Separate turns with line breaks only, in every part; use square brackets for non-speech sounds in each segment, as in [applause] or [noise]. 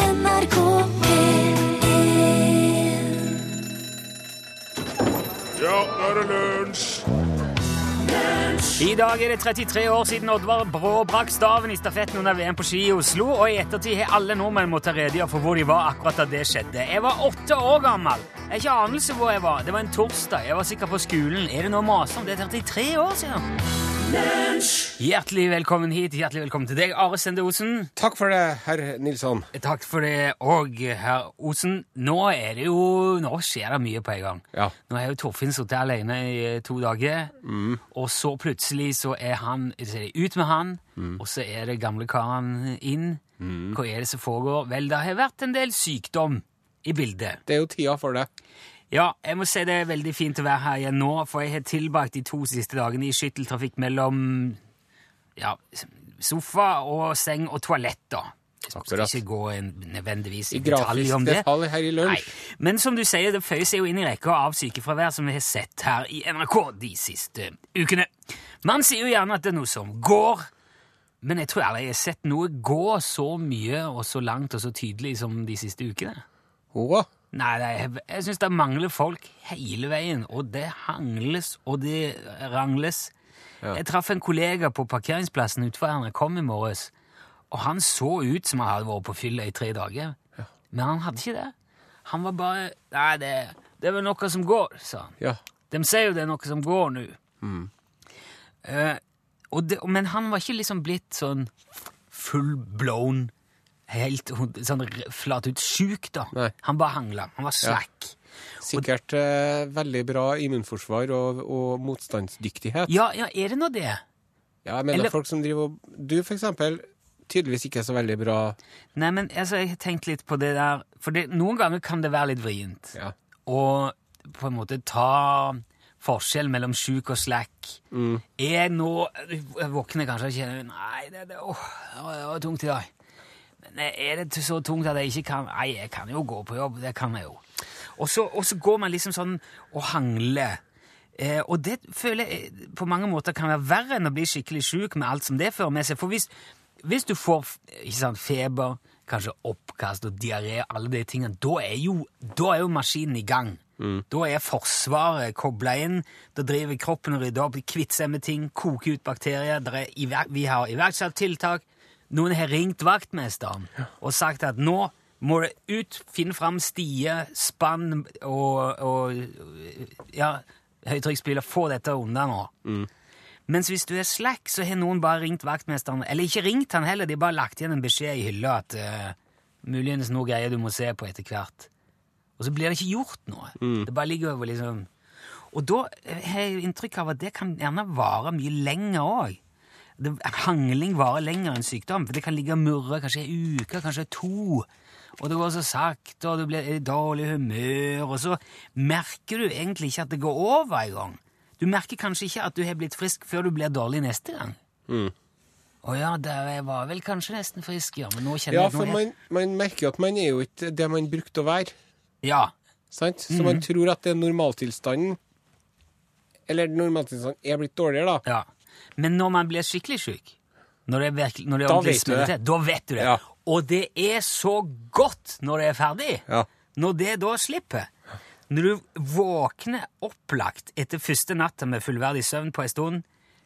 NRK P1
Ja, nå er det lunsj!
I dag er det 33 år siden Oddvar Brå brakk staven i stafetten under VM på ski i Oslo, og i ettertid har alle nordmenn måttet redegjøre for hvor de var akkurat da det skjedde. Jeg var åtte år gammel. Jeg har ikke anelse hvor jeg var. Det var en torsdag. Jeg var sikkert på skolen. Er det noe å mase om? Det er 33 år siden. Hjertelig velkommen hit. Hjertelig velkommen til deg, Are Sende Osen.
Takk for det, herr Nilsson.
Takk for det òg, herr Osen. Nå er det jo Nå skjer det mye på en gang.
Ja.
Nå har jo Torfinn sittet alene i eh, to dager,
Mm.
og så plutselig så er han så er det ut med han,
Mm.
og så er det gamle karen inn. Hva er det som foregår? Vel, det har vært en del sykdom i bildet.
Det er jo tida for det.
Ja, jeg må si det er veldig fint å være her igjen nå, for jeg har tilbrakt de to siste dagene i skytteltrafikk mellom ja, sofa og seng og toalett, da. Jeg skal
Akkurat.
ikke gå en, nødvendigvis
I
i detalj
grafisk
om det.
detalj her i lunsj.
Nei. Men som du sier, det føyer seg jo inn i rekka av sykefravær som vi har sett her i NRK de siste ukene. Man sier jo gjerne at det er noe som går, men jeg tror aldri jeg har sett noe gå så mye og så langt og så tydelig som de siste ukene.
Åh,
Nei, nei jeg, jeg syns det mangler folk hele veien, og det hangles og det rangles. Jeg traff en kollega på parkeringsplassen utenfor her da jeg kom i morges, og han så ut som han hadde vært på fylla i tre dager, men han hadde ikke det. Han var bare Nei, det, det er vel noe som går, sa han.
ja.
De sier jo det er noe som går nå.
Mm.
Eh, og det, men han var ikke liksom blitt sånn full blown, helt hod- sånn r- flat ut sjuk, da.
Nei.
Han bare hangla. Han var slack.
Sikkert eh, veldig bra immunforsvar og, og motstandsdyktighet.
Ja, ja, er det nå det?
Ja, jeg mener
Eller-
folk som driver og Du, for eksempel, tydeligvis ikke så veldig bra
Nei, men altså, jeg har tenkt litt på det der For det, noen ganger kan det være litt vrient.
Ja.
og på en måte ta forskjell mellom sjuk og slack.
Mm.
Jeg nå jeg våkner kanskje og kjenner Nei, det, det, åh, det var- det var tungt i dag. Men er det så tungt at jeg ikke kan Nei, jeg kan jo gå på jobb. Det kan jeg jo. Og så, og så går man liksom sånn og hangler. Eh, og det føler jeg eh, på mange måter kan være verre enn å bli skikkelig sjuk med alt som det fører med seg. For hvis, hvis du får ikke sant, feber, kanskje oppkast og diaré, alle de tingene, da er jo, da er jo maskinen i gang. Da er Forsvaret kobla inn, da driver kroppen og rydder opp, de kvitter seg med ting, koker ut bakterier. der er iver- vi har iverksatt tiltak. Noen har ringt vaktmesteren og sagt at nå må det ut, finn fram stier, spann og, og ja, høytrykksspyler, få dette unna nå. Mens hvis du er slack, så har noen bare ringt vaktmesteren, eller ikke ringt han heller, de har bare lagt igjen en beskjed i hylla at eh, muligens noe greier du må se på etter hvert. Og så blir det ikke gjort noe.
Mm.
Det bare ligger over liksom... Og da eh, har jeg inntrykk av at det kan gjerne vare mye lenger også. Det, hangling varer lenger enn sykdom, for det kan ligge og murre kanskje en uke, kanskje to. Og det går så sakte, og du blir i dårlig humør, og så merker du egentlig ikke at det går over en gang. Du merker kanskje ikke at du har blitt frisk før du blir dårlig neste gang.
Mm.
Å ja, der jeg var vel kanskje nesten frisk, ja, men nå kjenner
Ja,
jeg
for
noe
man, man merker jo at man er jo ikke det man brukte å være.
Ja,
Sant? Så
Mhm.
man tror at det er normaltilstanden Eller normaltilstanden er blitt dårligere, da.
Ja. Men når man blir skikkelig syk, når det er virkelig, når det er
Da
ordentlig
vet du
smell
det.
til, da vet du det.
Ja.
Og det er så godt når det er ferdig.
Ja.
Når det da slipper. Når du våkner opplagt etter første natta med fullverdig søvn på en stund,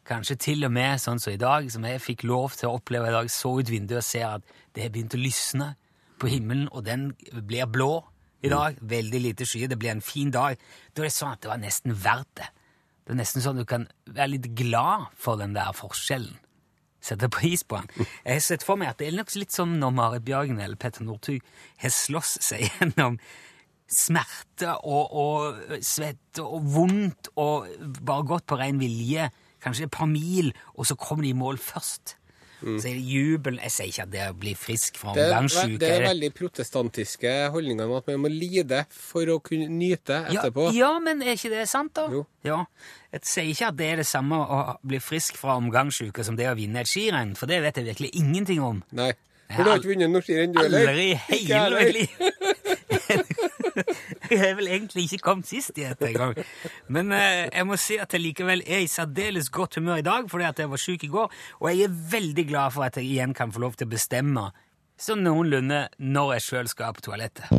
kanskje til og med sånn som i dag, som jeg fikk lov til å oppleve i dag, så ut vinduet og ser at det har begynt å lysne på himmelen, og den blir blå i dag. Veldig lite skyer, det blir en fin dag. Da er det sånn at det var nesten verdt det. Det er nesten sånn at du kan være litt glad for den der forskjellen. Sette pris på den. Jeg har sett for meg at det er nok litt som når Marit Bjørgen eller Petter Northug har slåss seg gjennom smerte og, og svette og vondt og bare gått på ren vilje, kanskje et par mil, og så kommer de i mål først. Så er det jubel Jeg sier ikke at det er å bli frisk fra
Mm. Det er,
omgangssjuke
det er veldig protestantiske holdningene at man må lide for å kunne nyte etterpå.
Ja, ja, men er ikke det sant, da?
Jo.
Ja. Jeg sier ikke at det er det samme å bli frisk fra omgangssyke som det å vinne et skirenn, for det vet jeg virkelig ingenting om.
Nei.
Jeg
For du
har
har ikke vunnet noe skirenn, du heller?
Aldri i
Ikke jeg
hele mitt liv! [laughs] Jeg har vel egentlig ikke kommet sist i dette engang. Men eh, jeg må si at jeg likevel er i særdeles godt humør i dag, fordi at jeg var syk i går, og jeg er veldig glad for at jeg igjen kan få lov til å bestemme sånn noenlunde når jeg sjøl skal på toalettet.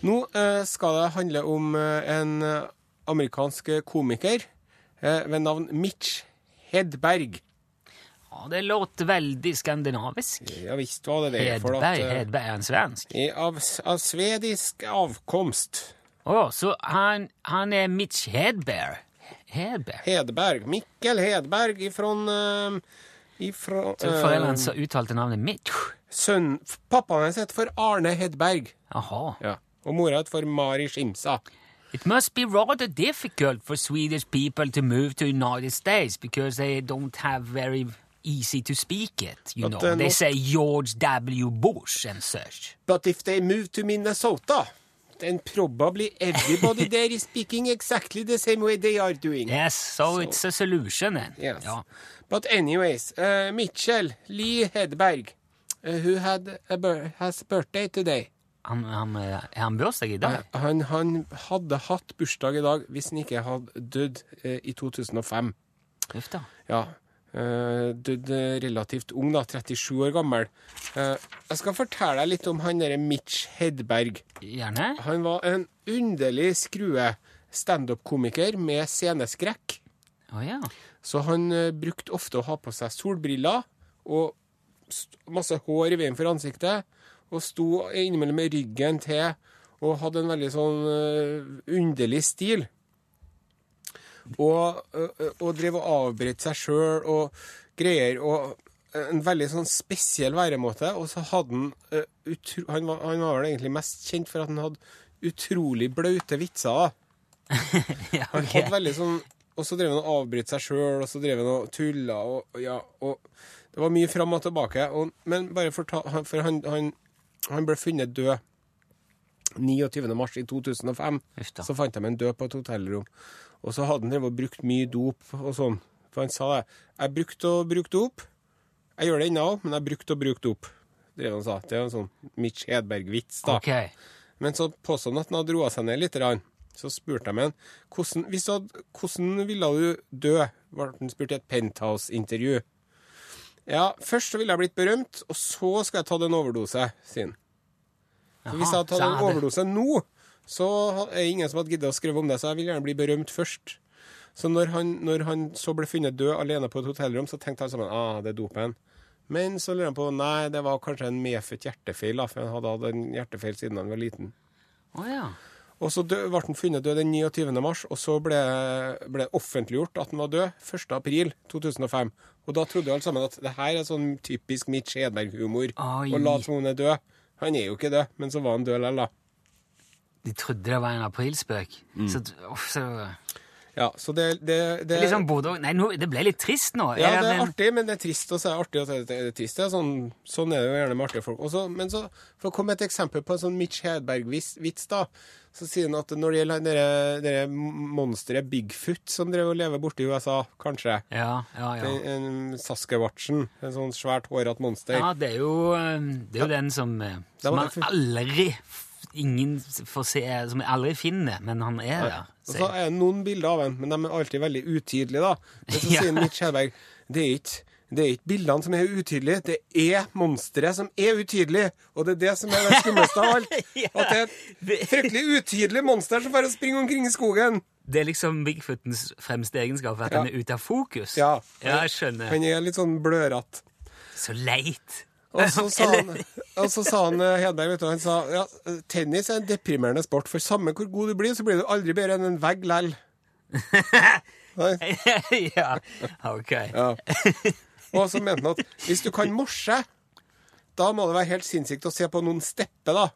Nå eh, skal det handle om eh, en eh, amerikansk komiker eh, ved navn Mitch Hedberg.
Ja, det låter veldig skandinavisk.
Ja visst var det det. for at,
Hedberg,
eh,
Hedberg er han svensk.
i- Av, av svedisk avkomst.
Å, så han, han er Mitch Hedberg. Hedberg.
Hedberg. Mikkel Hedberg ifrån eh, ifrån,
Så
eh,
foreldrene så uttalte navnet Mitch.
sønn, Pappaen hans heter for Arne Hedberg.
Jaha.
Og mora het for Mari Skimsa.
It must be rather difficult for Swedish people to move to United States because they don't have very easy to speak it, you
But
know.
they're
They
not-
say George W. Bush and such.
But if they move to Minnesota, then probably everybody there is speaking exactly the same way they are doing.
Yes, so, it's a solution then.
Yes.
Ja.
But anyways, uh, Mitchell Lee Hedberg, uh, who had a bir- has birthday today.
Han, han, eh, er han bursdag i dag?
Han, han hadde hatt bursdag i dag hvis han ikke hadde dødd eh, i 2005.
Uff da.
Ja, eh, dødd eh, relativt ung da, 37 år gammel. Eh, jeg skal fortelle deg litt om han der Mitch Hedberg.
Gjerne?
Han var en underlig skrue standup-komiker med sceneskrekk.
Å ja. [laughs]
Så han eh, brukte ofte å ha på seg solbriller og st masse hår i veien for ansiktet, og sto innimellom med ryggen til og hadde en veldig sånn eh, underlig stil. Og, eh, og drev og avbrøt seg sjøl og greier. og en veldig sånn spesiell væremåte. Og så hadde han eh, utro han, var, han var vel egentlig mest kjent for at han hadde utrolig blaute vitser. da.
ja [laughs]
Han
ok.
hadde veldig sånn Og så drev han og avbrøt seg sjøl, og så drev han og tulla, og, og ja og Det var mye fram og tilbake. Og, men bare for, ta, han- for han, han, han ble funnet død 29. mars i 2005.
Uff da.
Så fant de en død på et hotellrom. Og så hadde han drevet og brukt mye dop og sånn. For han sa det. 'Jeg brukte og brukte dop. Jeg gjør det ennå, men jeg brukte og brukte dop.' Drev han og sa. Det er jo en sånn Mitch Hedberg-vits, da.
Ok.
Men så påstod han at han hadde roa seg ned litt. grann. Så spurte jeg ham hvordan, hvis du hadde, hvordan ville du dø? ble han spurt i et Penthouse-intervju. Ja, først så ville jeg blitt berømt, og så skal jeg ta den overdose, sier han. Så hvis jeg hadde tatt
Jaha,
en
så hadde-
overdose nå, så er det ingen som hadde giddet å skrive om det, så jeg vil gjerne bli berømt først. Så når han, når han så ble funnet død alene på et hotellrom, så tenkte alle sammen ah, det er dopen. Men så lurer han på nei, det var kanskje en medfødt hjertefeil, da, for han hadde hatt en hjertefeil siden han var liten.
Å ja.
Og så dø- ble han funnet død den 29. mars, og så ble, ble det offentliggjort at han var død 1. april 2005. Og da trodde jo alle sammen at det her er sånn typisk Mitch Hedberg-humor.
Oi.
Å late som han er død. Han er jo ikke død, men så var han død likevel, da.
De trodde det var en aprilspøk.
Mm.
Så, uff, så
Ja, så det, det,
Det
det,
er liksom både Nei, nå, det ble litt trist nå.
Eh. ja,
Er
det er
den-
artig, men det er trist. Og så er det artig, og så er det- det er trist. Det er sånn, sånn er det jo gjerne med artige folk. Og så- men så, for å komme med et eksempel på en sånn Mitch Hedberg-vits, da, så sier han at når det gjelder dere- dere monsteret Bigfoot som drev og lever borte i USA, kanskje
ja, ja, ja.
En, en Saskewatchen. En sånn svært hårete monster.
Ja, det er jo, eh, det er jo den som, eh, som
var
man
derfor-
aldri f- Ingen får se eh, Som jeg aldri finner, men han er der.
Og så
sier-
er det noen bilder av en, men de er alltid veldig utydelige, da. Men
[laughs]
så
Ja.
sier Mitch Hedberg det er ikke det er ikke bildene som er utydelige, det er monsteret som er utydelig. Og det er det som er det skumleste av alt.
[laughs] Ja.
At det er et fryktelig utydelig monster som bare springer omkring i skogen.
Det er liksom Bigfootens fremste egenskap, at han er ute av fokus.
Ja.
jeg skjønner.
Han er litt sånn blørete.
Så leit. [laughs]
Og så sa han, og så sa han eh, Hedberg, vet du, han sa ja, tennis er en deprimerende sport, for samme hvor god du blir, så blir du aldri bedre enn en vegg
[laughs]
lell. Nei.
ja, ok.
Ja. Og så mente han at hvis du kan morse, da må det være helt sinnssykt å se på noen steppe, da.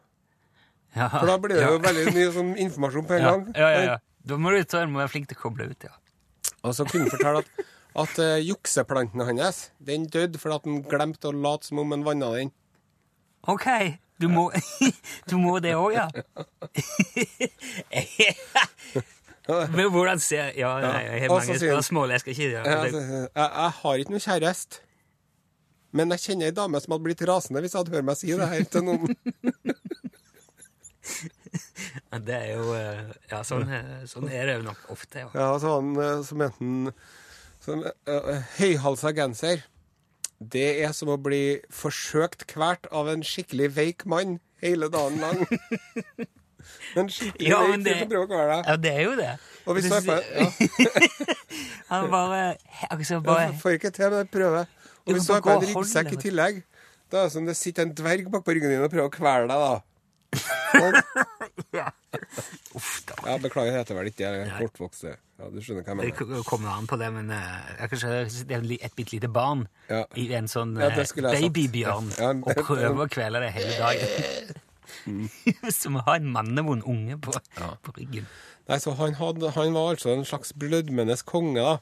Ja.
For da blir det jo veldig mye sånn informasjon på en
ja.
gang.
Ja, ja, ja. Da må du ta en, må være flink til å koble ut, ja.
Og så kunne han fortelle at, at eh, jukseplanten hans den døde fordi at han glemte å late som om han vanna den.
Ok, du må, [laughs] du må det òg,
[laughs]
ja. [laughs] Men hvordan ser Ja, nei, jeg har
Og så
mange
sier han-
spørsmål. Jeg skal ikke
Jeg,
ja,
jeg, altså, jeg har ikke noe kjæreste. Men jeg kjenner ei dame som
[laughs]
hadde blitt rasende hvis jeg hadde hørt meg si det her til noen.
Men det er jo eh, Ja, sånn, eh, sånn er det jo nok ofte. Ja.
Ja, så han eh, som enten som, eh, Høyhalsa genser. Det er som å bli forsøkt kvert av en skikkelig veik mann hele dagen
[laughs]
lang. en skikkelig
Ja,
veik
men
fyr
det-
som prøver å kvele deg.
ja, det er jo det.
Og hvis du er på, ja,
[laughs] Han bare Akkurat som
ja,
bare
får ikke til, men jeg prøver.
Du
Og hvis
kan
du
bare gå
har på en
og holde
ryggsekk
deg,
i
vet
tillegg, da er det som det sitter en dverg bak på ryggen din og prøver å kvele deg, da. Og,
ja. Uff da.
ja, beklager, jeg heter vel ikke det. Jeg er kortvokst. jeg. Ja, du skjønner hva jeg
Det
mener.
k- kommer an på det, men eh, jeg kan skjønne- det er en li- et bitte lite barn
Ja.
i en sånn
Ja,
eh,
det skulle jeg sagt.
babybjørn
Ja, en-
og prøver å kvele det hele dagen.
[laughs] Mm.
[laughs] Som å ha en mannevond unge på, på ryggen.
Nei, så han, hadde, han var altså en slags blødmenes konge, da.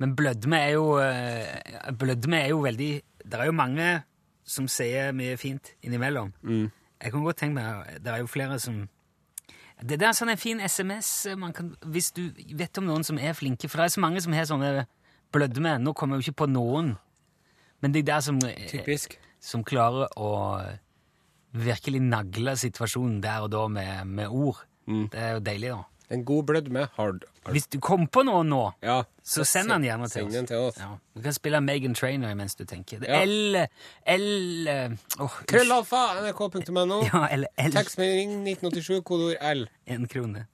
Men blødme er jo eh, Blødme er jo veldig Det er jo mange som sier mye fint innimellom.
Mm.
Jeg kan godt tenke meg Det er jo flere som Det der er sånn en fin SMS man kan, Hvis du vet om noen som er flinke For det er så mange som har sånne blødme. Nå kommer jeg jo ikke på noen. Men de der som, eh,
Typisk.
som klarer å virkelig nagle situasjonen der og da med, med ord,
Mm.
det er jo deilig, da.
En god blødme. Hard.
Hvis du kom på noen nå
Ja.
Så send den gjerne til
Send
oss.
den til oss.
Ja. Du kan spille Megan Trainer mens du tenker.
Ja.
L L åh,
Krøllalfa, nrk.no.
[laughs] Ja, eller L.
Tekstmelding 1987, kodeord L.
En krone.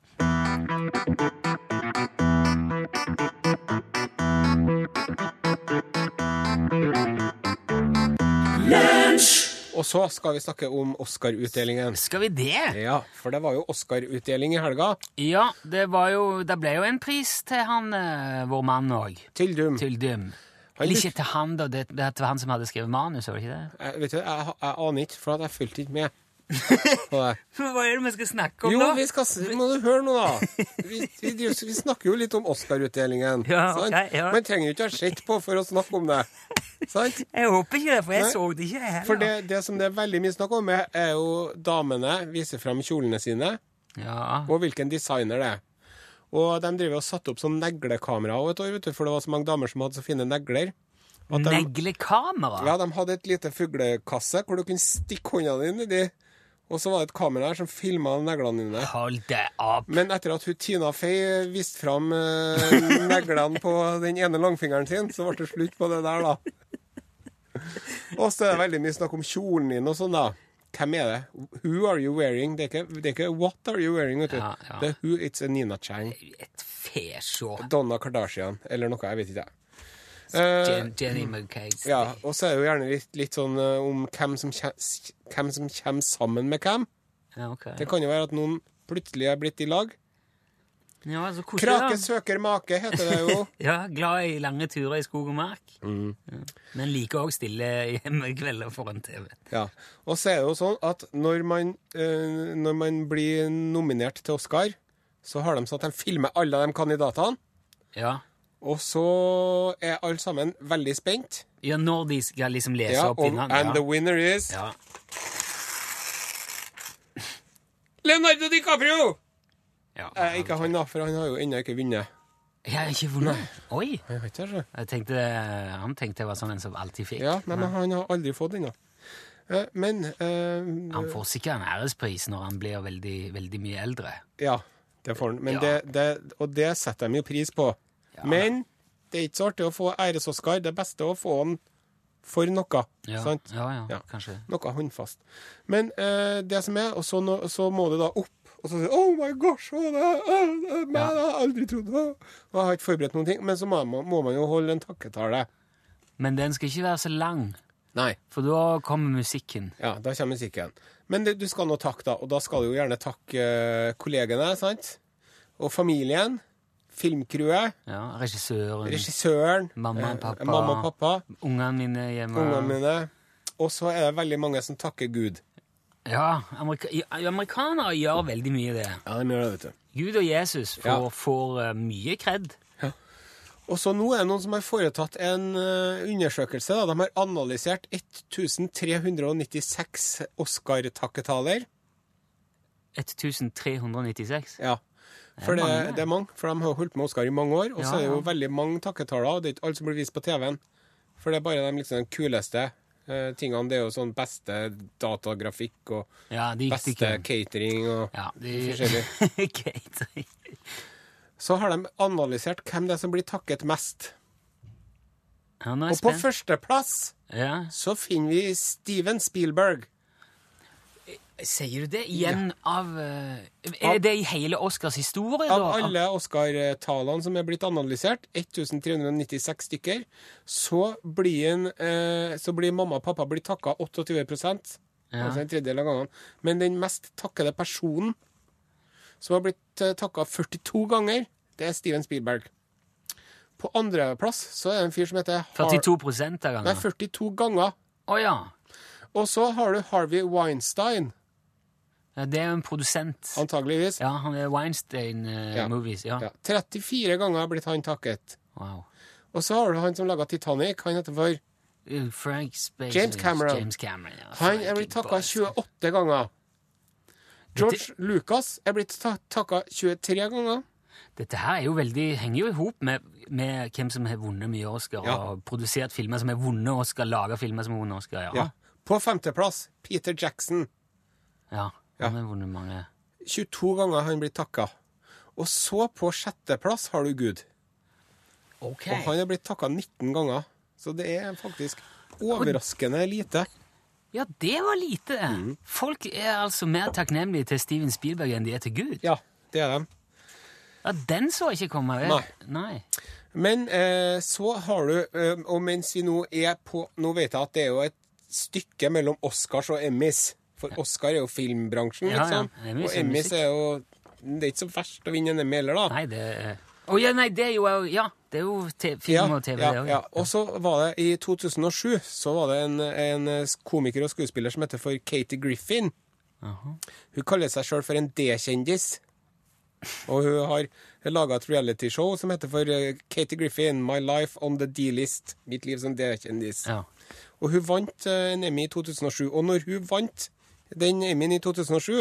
Og så skal vi snakke om Oscar-utdelingen.
Skal vi det?
Ja, for det var jo Oscar-utdeling i helga.
Ja, det var jo Det ble jo en pris til han eh, vår mann òg.
Tyldum.
Til Dym.
Han
Eller
bruk-
ikke til han, da. Det, det var han som hadde skrevet manus, var det ikke det?
Jeg, eh, vet du, jeg, jeg aner ikke, for at jeg fulgte ikke
[laughs]
med. på det.
Hva er det vi skal snakke om,
Jo,
da?
vi skal s- Må du høre nå,
[laughs]
da? Vi, vi, driver- vi snakker jo litt om Oscar-utdelingen.
Ja,
sant?
ok, ja.
Man trenger jo ikke ha sett på for å snakke om det. Sant?
Jeg håper ikke det, for jeg
Nei.
så det ikke, jeg heller.
For det, det som det er veldig mye snakk om, er, er jo damene viser fram kjolene sine,
Ja.
og hvilken designer det er. Og de driver og satte opp sånn neglekamera også et år, vet du, for det var så mange damer som hadde så fine negler. At de,
Neglekamera?
ja, de hadde et lite fuglekasse hvor du kunne stikke hånda di nedi, og så var det et kamera der som filma neglene dine.
Hold det opp.
Men etter at hun Tina Fey viste fram eh, neglene på den ene langfingeren sin, så ble det slutt på det der, da. Og så er det veldig mye snakk om kjolen din og sånn, da. Hvem er det? Who are you wearing? Det er ikke, det er ikke What are you wearing? Vet du.
Ja, ja.
Det er Who It's a Nina Chang.
Et fesjå.
Donna Kardashian eller noe. Jeg vet ikke. Uh,
Jen, Jenny McCaig.
ja, og så er det jo gjerne litt, litt sånn eh, om hvem som, kje- hvem som kommer sammen med hvem.
Ja, ok.
Det kan jo være at noen plutselig er blitt i lag.
Ja, så koselig.
Krake
da.
søker make, heter det jo.
Ja, glad i lange turer i skog og mark.
Mm.
Ja. Men liker òg stille hjemmekvelder foran TV.
Ja, Og så er det jo sånn at når man, eh, når man blir nominert til Oscar, så har de sånn at de filmer alle de kandidatene.
Ja.
Og så er alle sammen veldig spent.
ja, når de skal liksom lese
Ja,
opp
og,
vinneren.
and the
Ja.
winner is
Ja.
Leonardo DiCaprio!
Ja.
Eh, ikke han, da, for han har jo ennå ikke vunnet.
Jeg har ikke vunnet. Oi!
Jeg vet ikke, altså.
Jeg tenkte, han tenkte jeg var sånn en som alltid fikk.
Ja, nei, men han har aldri fått den, da. Eh, Men eh,
Han får sikkert en ærespris når han blir veldig, veldig mye eldre.
Ja, det får han. Men
Ja.
det, det, og det setter de jo pris på. Men det er ikke så artig å få æres-Oscar. Det beste er å få han for noe.
Ja,
Sant?
ja, ja,
Ja.
kanskje.
Noe håndfast. Men eh, det som er, og så, nå- så må du da opp og så sier du, Oh my gosh! Oh, det, er- oh, det, er meg,
Ja.
det har jeg aldri trodd! Oh. Og jeg har ikke forberedt noen ting. Men så må man, må man jo holde en takketale.
Men den skal ikke være så lang,
Nei.
for da kommer musikken.
Ja, da kommer musikken. Men det, du skal nå takke, da. Og da skal du jo gjerne takke eh, kollegene, sant? Og familien. Filmcrewet.
Ja, Regissøren,
Regissøren.
Mamma og
eh,
pappa.
Mamma og pappa.
ungene mine hjemme
Ungene mine. Og så er det veldig mange som takker Gud.
Ja, amerika ja, amerikanere gjør veldig mye det.
Ja, de gjør det, vet du.
Gud og Jesus får,
Ja.
får eh, mye kred.
Og så nå er det noen som har foretatt en eh, undersøkelse. Da. De har analysert 1396 Oscar-takketaler.
1396.
Ja. For
Det
det,
er mange.
det er mange, for de har holdt med Oscar i mange år. Og så
Ja,
er det jo
ja.
veldig mange takketaler, og det er ikke alle som blir vist på TV-en. For det er bare de liksom, de kuleste eh, tingene. Det er jo sånn beste datagrafikk og
Ja, de gikk til
beste
køen.
catering og
Ja,
forskjellig.
[laughs] de... Catering.
Så har de analysert hvem det er som blir takket mest.
Ja, nå er
Og
jeg
på
spent.
førsteplass
Ja.
så finner vi Steven Spielberg.
Sier du det igjen av eh, Er det i hele Oscars historie, da?
Av alle Oscar-talene som er blitt analysert, 1396 stykker, så blir, en, eh, så blir mamma og pappa blitt takka 28
Ja.
altså en tredjedel av gangene. Men den mest takkede personen, som har blitt eh, takka 42 ganger, det er Steven Spielberg. På andreplass så er det en fyr som heter Har-
42 av
Nei,
gangene?
42 ganger.
Å ja.
Og så har du Harvey Weinstein,
ja. Det er jo en produsent.
antageligvis.
Ja, han er Weinstein eh,
Ja.
Movies. Ja.
Ja. 34 ganger har blitt han takket.
Wow.
Og så har du han som laga Titanic. Han heter for
Eh, Frank Space
James Cameron.
James Cameron ja.
Han er
Frankie
blitt takka
Boys.
28 ganger. George Lucas er blitt ta takka 23 ganger.
Dette her er jo veldig, henger jo i hop med, med hvem som har vunnet mye Oscar,
Ja.
og produsert filmer som har vunnet Oscar, laga filmer som har vunnet Oscar. Ja.
På femteplass Peter Jackson.
Ja,
Ja.
Han har vunnet mange.
22 ganger han blitt takka. Og så på sjetteplass har du Gud.
Ok.
Og han er blitt takka 19 ganger. Så det er faktisk overraskende lite.
Ja, det var lite.
Mhm.
Folk er altså mer takknemlige til Steven Spielberg enn de er til Gud. Ja,
Ja, det er dem.
Den så jeg ikke komme.
Nei.
Nei.
Men eh, så har du eh, Og mens vi nå er på Nå vet jeg at det er jo et stykke mellom Oscars og Emmys. For Oscar er jo filmbransjen,
Ja,
liksom.
ja. Emmys
og
er
Emmys
musikk.
er jo Det er ikke så verst å vinne en Emmy heller, da.
Nei, det er Å ja, nei, det er jo Ja, det er jo te film
Ja,
og TV,
ja,
det òg.
ja. Og så var det i 2007 så var det en, en komiker og skuespiller som heter for Katie Griffin. Hun kaller seg sjøl for en D-kjendis. Og hun har laga et realityshow som heter for eh, Katie Griffin, My Life on the D-list. Mitt liv som D-kjendis.
Ja.
Og hun vant eh, en Emmy i 2007. Og når hun vant den Emmyen i 2007,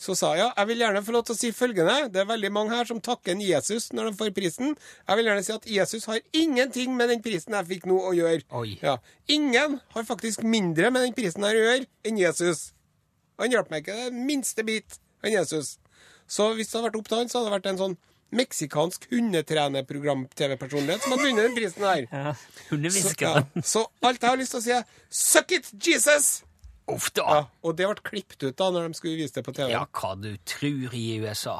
så sa jeg ja, jeg vil gjerne få lov til å si følgende. Det er veldig mange her som takker en Jesus når de får prisen. Jeg vil gjerne si at Jesus har ingenting med den prisen jeg fikk nå å gjøre.
Oi.
Ja. Ingen har faktisk mindre med den prisen her å gjøre enn Jesus. Han hjalp meg ikke den minste bit, han Jesus. Så hvis det hadde vært opp til han, så hadde det vært en sånn meksikansk hundetrenerprogram-TV-personlighet som hadde vunnet den prisen her.
ja.
Så,
Hundehviskeren.
ja. så alt jeg har lyst til å si, er Suck it, Jesus!
Uff da!
Ja, og det ble klippet ut da når de skulle vise det på TV.
Ja, hva du tror i USA.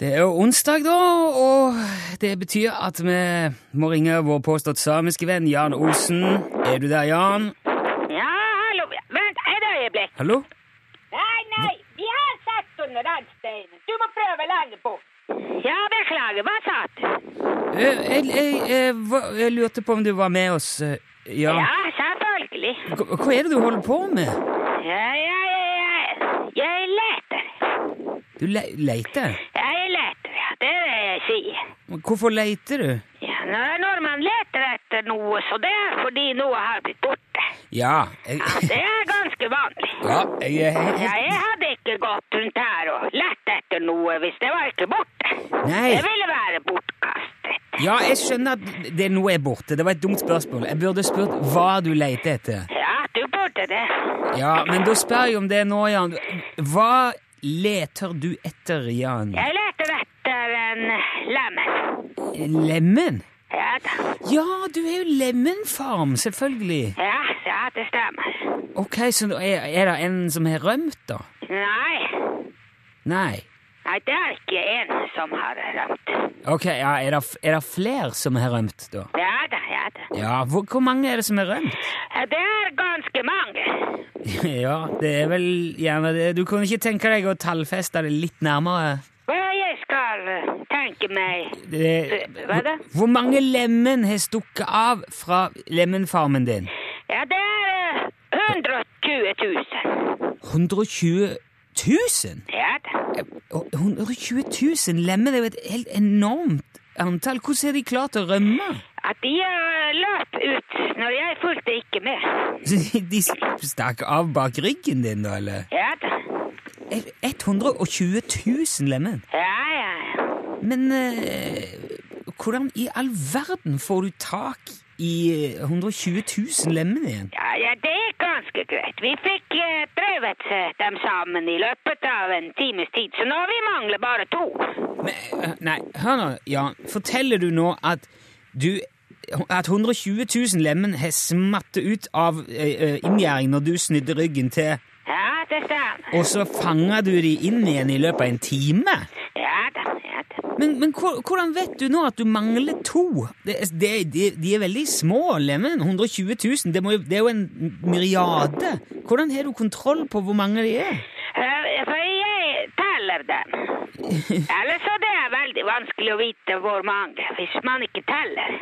Det er jo onsdag, da, og det betyr at vi må ringe vår påstått samiske venn Jan Olsen. Er du der, Jan?
Ja, hallo. Vent et øyeblikk.
Hallo?
Nei, nei. De har satt under den steinen. Du må prøve lenger bort. Ja, beklager. Hva sa du?
Eh, Jeg, jeg, jeg, hva- jeg lurte på om du var med oss, eh, Jan.
Ja, selvfølgelig.
Hva hva er det du holder på med?
Ja, ja, ja, ja. Jeg leter.
Du le leiter?
Jeg leter, ja. Det er det jeg sier.
Hvorfor leiter du?
Ja, når, når man leter etter noe, så det er fordi noe har blitt borte.
Ja, jeg,
Ja, Ah, det er ganske vanlig.
ja, jeg, jeg,
Ja, jeg hadde ikke gått rundt her og lett etter noe hvis det var ikke borte.
Nei.
Det ville være bortkastet.
ja, jeg skjønner at det nå er borte. Det var et dumt spørsmål. Jeg burde spurt hva du leter etter.
Ja, du burde det.
Ja, men da spør jeg om det nå, Jan. Hva leter du etter, Jan?
Jeg leter etter en lemen.
Lemen?
Ja da.
Ja, du er jo lemenfarm, selvfølgelig.
Ja, ja, det stemmer.
Ok, så da er, er det en som har rømt, da?
Nei.
Nei.
Nei, det er ikke en som har rømt.
Ok, ja, er det, er det flere som har rømt, da?
Ja da, ja da.
Ja, hvor, hvor mange er det som har rømt?
Ja, Det er ganske mange.
[laughs] Ja, det er vel gjerne det. Du kunne ikke tenke deg å tallfeste det litt nærmere?
Hva jeg skal eh, tenke meg
Det,
Hva er det?
Hvor mange lemen har stukket av fra lemenfarmen din?
Ja, det er eh, 120 000.
120 000?
Ja da.
Og 120 000 lemen er jo et helt enormt antall. Hvordan har de klart å rømme? [laughs]
At de eh, løp ut når jeg fulgte ikke med.
De stakk av bak ryggen din, da, eller?
Ja da.
120 000 lemen.
Ja, ja, ja.
Men eh, hvordan i all verden får du tak i eh, 120 000 lemen igjen?
Ja, ja, det er ganske greit. Vi fikk eh, drevet eh, dem sammen i løpet av en times tid, så nå vi mangler bare to.
Men, eh, nei, hør nå, Jan. Forteller du nå at du at 120 000 lemen har smattet ut av eh, eh, inngjerding når du snudde ryggen til,
Ja, det stemmer.
og så fanger du de inn igjen i løpet av en time?
Ja da, ja da.
Men, men hvor- hvordan vet du nå at du mangler to? Det, det, de, de er veldig små, lemen. 120 000. Det, må, jo- det er jo en myriade. Hvordan har du kontroll på hvor mange de er?
Eh, For jeg teller dem. Ellers så det er veldig vanskelig å vite hvor mange, hvis man ikke teller.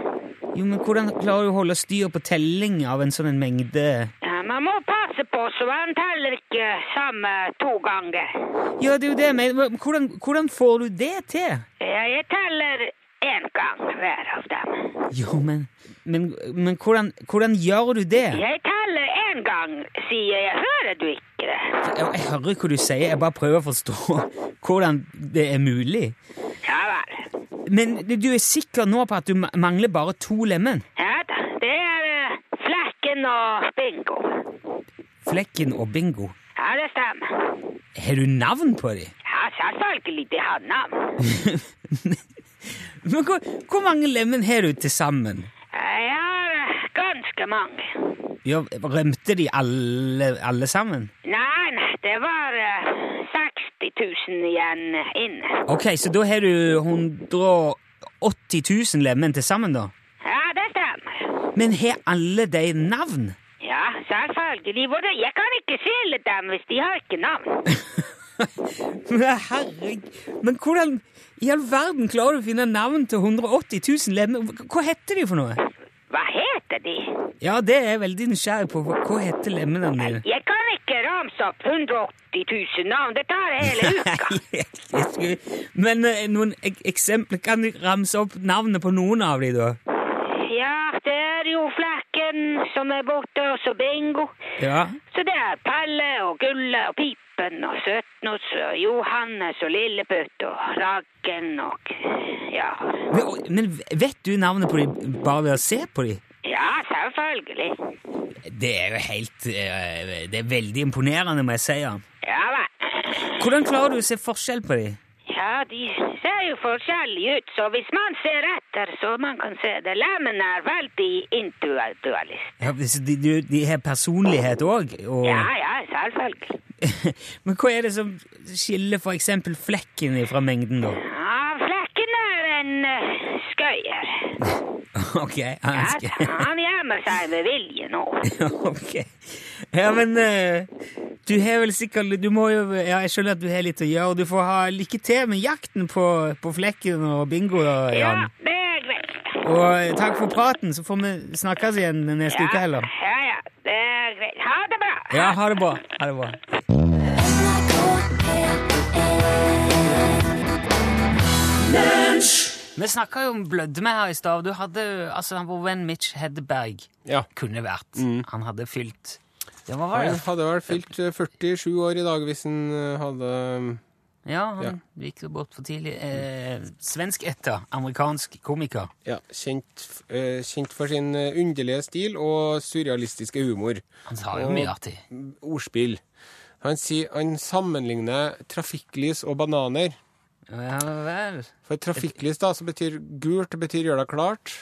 Jo, men Hvordan klarer du å holde styr på telling av en sånn en mengde?
Ja, man må passe på så man teller ikke samme to ganger.
Ja, det er jo det, men men hvordan, hvordan får du det til?
Ja, jeg teller én gang hver av dem.
Jo, men, men, men hvordan, hvordan gjør du det?
Jeg teller én gang, sier jeg. Hører du ikke det?
Jeg, jeg hører hva du sier, jeg bare prøver å forstå hvordan det er mulig.
Ja vel.
Men du du er sikker nå på at du ma- mangler bare to lemen?
Ja da. Det er eh, Flekken og Bingo.
Flekken og Bingo.
Ja, det stemmer.
Har du navn på dem?
Ja, selvfølgelig. De har navn.
Men hvor, hvor mange lemen har du til sammen?
Jeg har eh, ganske mange.
Ja, rømte de alle, alle sammen?
Nei, nei, det var eh, 60 000 igjen inne.
Ok, så da har du 180 000 lemen til sammen, da?
Ja, det stemmer.
Men har alle de navn? [laughs]
Ja, selvfølgelig. Hvordan- Jeg kan ikke skille dem hvis de har ikke navn.
Men Herregud. Men hvordan i all verden klarer du å finne navn til 180 000 lemen? Hva heter de for noe?
Hva heter de?
Ja, det er jeg veldig nysgjerrig på. Hva hva heter lemmene dine?
Jeg kan ikke ramse opp 180 000 navn. Det tar hele
[laughs]
uka.
Nei, jeg skulle- Men eh, noen ek eksempler Kan du ramse opp navnet på noen av de, da?
Ja, det er jo Flekken som er borte, og så Bingo.
Ja.
Så det er Pelle og Gulle og Pipen og Søtnos og Johannes og Lilleputt og Raggen og Ja.
Men, og- men vet du navnet på de bare ved å se på de?
Ja, selvfølgelig.
Det er jo helt eh, Det er veldig imponerende, må jeg si. Jan.
Ja vel.
Hvordan klarer du å se forskjell på de?
Ja, de ser jo forskjellige ut, så hvis man ser etter, så man kan se det. Lemmen er veldig individualist.
Ja, så de, de, de har personlighet òg? Og...
Ja, ja, selvfølgelig.
[laughs] Men hva er det som skiller for eksempel flekken fra mengden, da?
Ja, Flekken er en eh, skøyer.
[laughs] Ok, han
Ja,
skal...
han gjemmer seg med vilje
[laughs]
nå.
Ok. Ja, men eh, du har vel sikkert Du må jo Ja, jeg skjønner at du har litt å gjøre. Du får ha lykke til med jakten på, på flekken og bingo, da,
Ja,
Jan.
det er greit.
Og eh, takk for praten, så får vi snakkes igjen neste uke
Ja,
heller.
ja, ja, det er greit. Ha det bra.
Ja, ha det bra. Ha det bra. Vi snakka jo om blødme her i stad. Du hadde altså vår venn Mitch Hedberg
Ja.
kunne vært. Han hadde fylt Ja, hva var det?
Han hadde vel fylt eh, 47 år i dag hvis han eh, hadde
Ja, han gikk jo bort for tidlig. Eh, svensk etter. Amerikansk komiker.
ja, kjent, f- eh, kjent for sin eh, underlige stil og surrealistiske humor.
Han sa jo
Og
mye artig.
Ordspill. Han, sier, han sammenligner trafikklys og bananer.
Ja vel.
For trafikklys da, som betyr gult, det betyr gjør deg klart.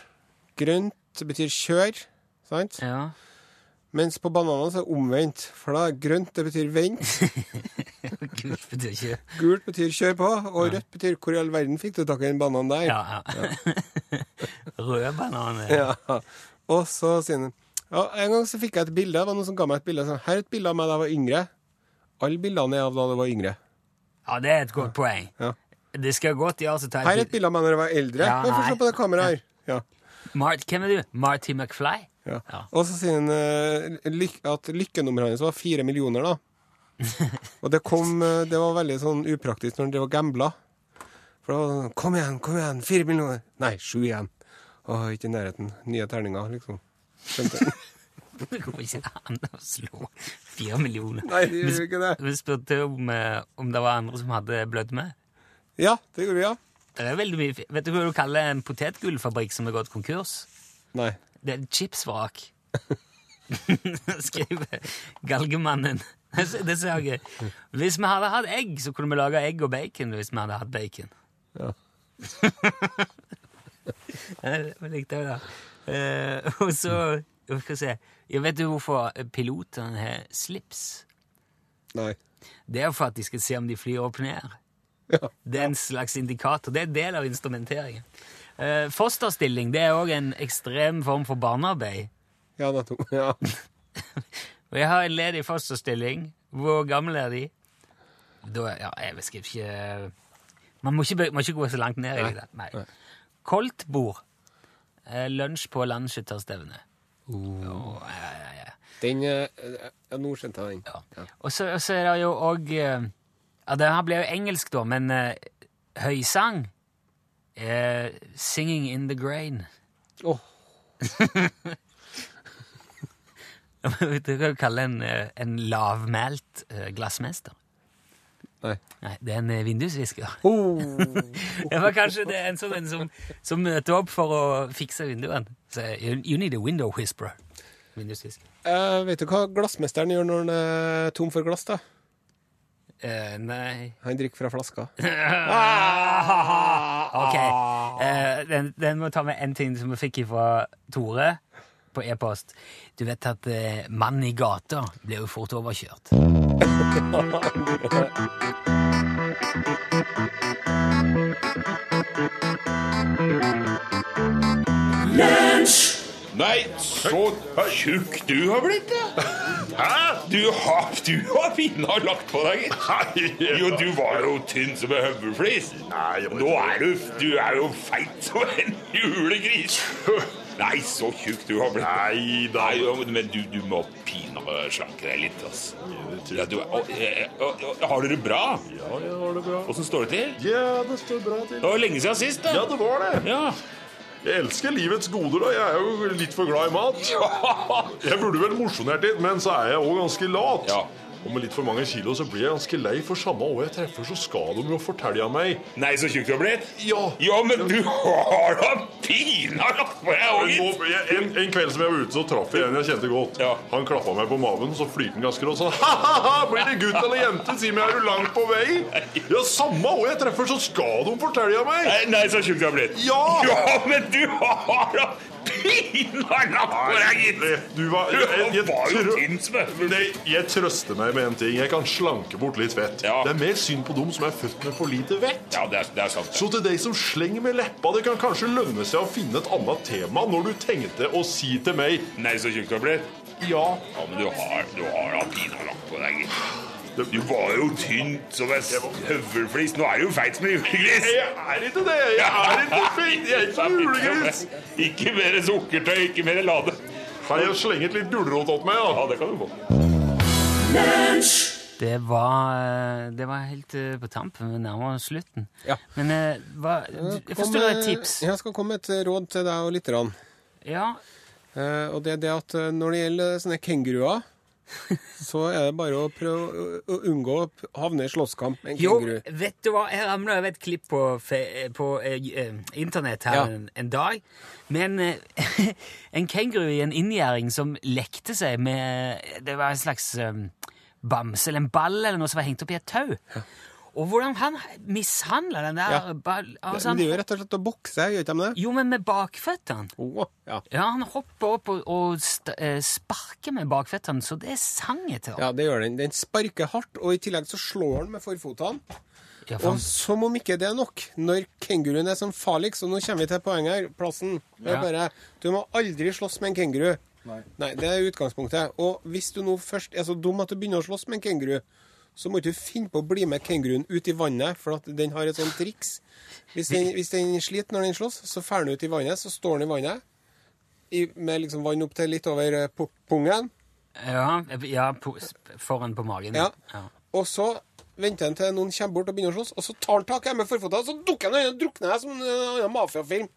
Grønt det betyr kjør. Sant?
Ja.
Mens på bananene så er det omvendt. For da er grønt det betyr vent,
Gud, betyr ikke
gult betyr kjør på, og rødt betyr hvor i all verden fikk du tak i den bananen der?
Ja. [laughs] ja. Røde bananer.
Ja. Og så sier han ja, En gang så fikk jeg et bilde. Det var noen som ga meg et bilde. Sånn, Her er et bilde av meg da jeg var yngre. Alle bildene er av da jeg var yngre.
Ja, det er et godt poeng.
Ja.
Det skal godt gjøres å ta
Her er
et
et bilde av meg når jeg var eldre.
Ja,
Men Få se
nei.
på det kameraet her. Ja.
Mart, Hvem er du? Marty McFly? [laughs]
Ja.
Ja.
Og så sier han eh, lyk at lykkenummeret hans var fire millioner,
[laughs]
da. Og det kom eh, Det var veldig sånn upraktisk når han drev og gambla. For da var det sånn Kom igjen, kom igjen, fire millioner! Nei, sju igjen. Å, ikke i nærheten. Nye terninger, liksom. Skjønte han.
Det går ikke an å slå fire millioner.
Nei, det gjør jo ikke det.
Vi spurte om, eh, om det var andre som hadde blødme.
[laughs] Ja, det gjorde vi, ja.
Det er veldig mye. fi- Vet du hva du kaller en potetgullfabrikk som har gått konkurs?
Nei.
Det er et chipsvrak. [laughs] Skriver Galgemannen. Det ser- Det ser jeg gøy. Hvis vi hadde hatt egg, så kunne vi laga egg og bacon. hvis vi hadde hatt bacon.
Ja.
[laughs] Jeg likte det. da. Eh, og så jeg skal se. Jeg Vet du hvorfor pilotene har slips?
Nei.
Det er for at de skal se om de flyr opp ned.
Ja.
Det er en slags indikator. Det er en del av instrumenteringen. Eh, fosterstilling det er òg en ekstrem form for barnearbeid.
Ja, nettopp. [laughs] Ja.
Og jeg har en ledig fosterstilling. Hvor gammel er de? Da, ja, jeg vet ikke Man må ikke, be- må ikke gå så langt ned i det. Nei. Koltbord. Eh, Lunsj på landskytterstevne. Åh, ja, ja, ja.
Den eh, Ja, nå skjønte jeg den.
Ja. Og så og så er det jo òg Ja, det her blir jo engelsk, da, men eh, høysang eh, Singing in the grain.
Åh,
Vet du [laughs] hva du kaller en, eh, en lavmælt eh, glassmester?
Nei.
Nei, det er en eh, vindusvisker.
Oh.
[laughs] Det var kanskje det en sånn en som, som møter opp for å fikse vinduene. Så, you, you need a window whisperer. Vindusvisker.
Eh, vet du hva glassmesteren gjør når han er tom for glass? da?
Eh, nei
Han drikker fra flaska.
Ok, eh, den, den må ta med en ting som vi fikk fra Tore på e-post. Du vet at eh, mann i gata blir jo fort overkjørt.
Nei, så tjukk du har blitt, da. Hæ? Du har, du har pinna lagt på deg, gitt. Jo, du var jo tynn som en høvelflis. Nå er du, du er jo feit som en julegris. Nei, så tjukk du har blitt. Nei, jo, men du, du må pinadø slanke deg litt, ass. Ja, du, og, eh, og, og, har dere det bra?
Ja, jeg har det bra.
Åssen står det til?
Ja, det står bra til.
Det var lenge siden sist,
Ja,
da.
det var det.
Ja.
Jeg elsker livets goder, da. Jeg er jo litt for glad i mat.
[laughs]
Jeg burde vel mosjonert litt, men så er jeg òg ganske lat.
Ja.
Og med litt for mange kilo så blir jeg ganske lei, for samme år jeg treffer, så skal de jo fortelle meg
Nei, så tjukk du har blitt.
Ja.
Ja, men du har da pinadø lagt på deg òg,
Nå-
gitt.
jeg- En, en kveld som jeg var ute, så traff jeg en jeg kjente godt.
Ja.
Han klappa meg på maven, så flyrte han ganske rått sånn. Ha-ha-ha! Blir det gutt eller jente? Si meg, er du langt på vei? Ja, samme år jeg treffer, så skal de fortelle meg.
Nei, nei, så tjukk du har blitt.
Ja!
Ja, men du har da pinadø lagt på deg, gitt.
Du var,
Du
jeg, jeg, jeg,
var jo
trø-
tynn som en
Nei, jeg trøster meg med en ting. Jeg kan slanke bort litt fett.
Ja.
Det er mer synd på dem som er født med for lite vett.
Ja, det er, det er sant.
Så til deg som slenger med leppa, det kan kanskje lønne seg å finne et annet tema når du tenkte å si til meg
Nei, så tjukk du har blitt.
ja.
Ja, men du har, du har da pinadø lagt på deg, gitt. Du var jo tynn som en høvelflis. Nå er du jo feit som en julegris.
Jeg er ikke det. Jeg er ikke
[laughs]
feit. Jeg er ikke en julegris.
Ikke mer sukkertøy, ikke mer lade.
Kan jeg slenge et litt gulrot opp meg, da?
Ja, det kan du få.
Det var, eh, det var helt eh, på tampen. Vi nærmer oss slutten.
Ja.
Men eh, hva, jeg forstår et tips.
Jeg skal komme med et råd til deg og lytterne.
Ja,
Eh, og det er det at eh, når det gjelder sånne kenguruer,
[laughs]
så er det bare å prøve å- å unngå å p- havne i slåsskamp med en
Jo,
kenguru.
vet du hva? Jeg ramla over et klipp på, fe- på eh, eh, internett her
Ja.
en, en dag. Med en, eh, [laughs] en kenguru i en inngjerding som lekte seg med Det var en slags eh, bamse eller en ball eller noe som var hengt opp i et tau. Og hvordan han mishandla den der
Ja.
ball... Altså,
Men det er
han,
jo rett og slett å bokse, gjør ikke de det?
jo, men med bakføttene.
Å, ja.
Ja, han hopper opp og, og st eh, sparker med bakføttene, så det sang jeg til.
ja, det gjør den. Den sparker hardt, og i tillegg så slår den med forfotene.
Ja, for
Og
han-
som om ikke det er nok, når kenguruen er som farligst Og nå kommer vi til poenget her, plassen. Det er
Ja.
bare, du må aldri slåss med en kenguru. Nei. Det er utgangspunktet. Og hvis du nå først er så dum at du begynner å slåss med en kenguru, så må du ikke finne på å bli med kenguruen ut i vannet, for at den har et sånt triks. Hvis den, hvis den sliter når den slåss, så drar den ut i vannet, så står den i vannet i, med liksom vann opp til litt over eh, pu- pungen.
ja, ja på, foran på magen.
Mm. Ja.
ja.
Og så venter han til noen kommer bort og begynner å slåss, og så tar han tak i meg med forføttene, og så dukker han i øynene og drukner jeg som en annen mafiafilm.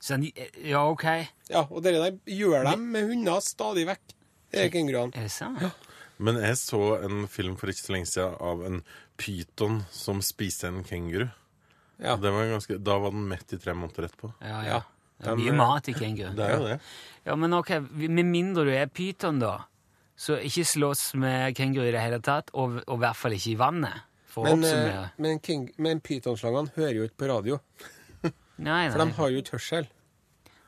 Så han, eh, ja, OK. Er
Ja, og det der gjør de med hunder stadig vekk. Det er kenguruene.
det sant?
Men jeg så en film for ikke så lenge siden av en pyton som spiste en kenguru.
Ja.
Det var ganske, da var den mett i tre måneder etterpå.
Ja,
Ja, eh,
ja. Det er
den-
mye mat i kenguru.
Det er jo det.
Ja, men ok, med mindre du er pyton da, så ikke slåss med kenguru i det hele tatt, og, og i hvert fall ikke i vannet, for å
Men, eh,
oppsummere.
men, king- men pytonslangene hører jo ikke på radio,
Nei,
for
nei.
de har jo ikke hørsel.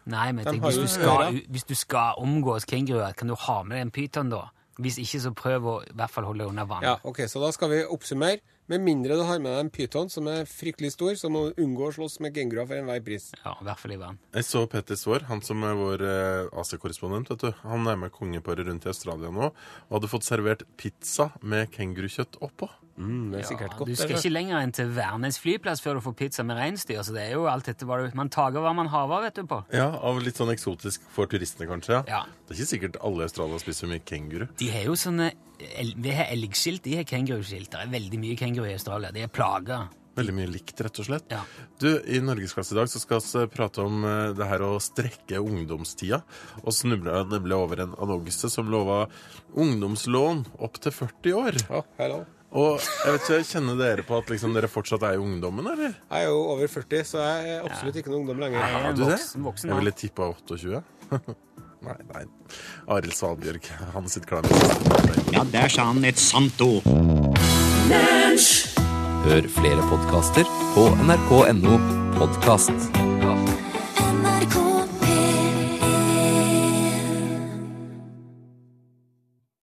nei, men jeg
de
tenker,
har
hvis,
jo
du skal,
ører.
u- hvis du skal omgås kenguruer, kan du ha med deg en pyton da? Hvis ikke, så prøv å i hvert fall holde deg under vann.
Ja, ok, Så da skal vi oppsummere. Med mindre du har med deg en pyton som er fryktelig stor, så må du unngå å slåss med kenguruer for enhver pris.
Ja, i hvert fall i vann.
Jeg så Petter Svaar, han som er vår eh, AC-korrespondent. vet du. Han er med kongeparet rundt i Australia nå og hadde fått servert pizza med kengurukjøtt oppå.
Mm, det er sikkert godt.
du skal
eller?
ikke lenger enn til Værnes flyplass før du får pizza med regnstyr, så det er jo alt dette hva du... Man tager hva man haver, vet du på.
Ja, Av litt sånn eksotisk for turistene, kanskje.
Ja.
Det er ikke sikkert alle i Australia spiser så mye kenguru.
De har jo sånne el- Vi har elgskilt, de har kenguruskilt. Det er veldig mye kenguru i Australia. De er plaga.
Veldig mye likt, rett og slett.
Ja.
Du, I Norgesklasse i dag så skal vi prate om eh, det her å strekke ungdomstida. Og snubla jeg nemlig over en annonse som lova ungdomslån opp til 40 år.
Ja, hello.
Og jeg vet ikke, Kjenner dere på at liksom dere fortsatt er i ungdommen, eller?
Jeg er jo over 40, så jeg er absolutt ikke noen ungdom lenger.
Nei.
Er
En
du det?
voksen- voksen
jeg
mann.
ville tippa 28. [laughs] nei, nei. Arild Svalbjørg, han sitt klamme.
Ja, der sa han et sant ord.
Hør flere podkaster på nrk.no podkast.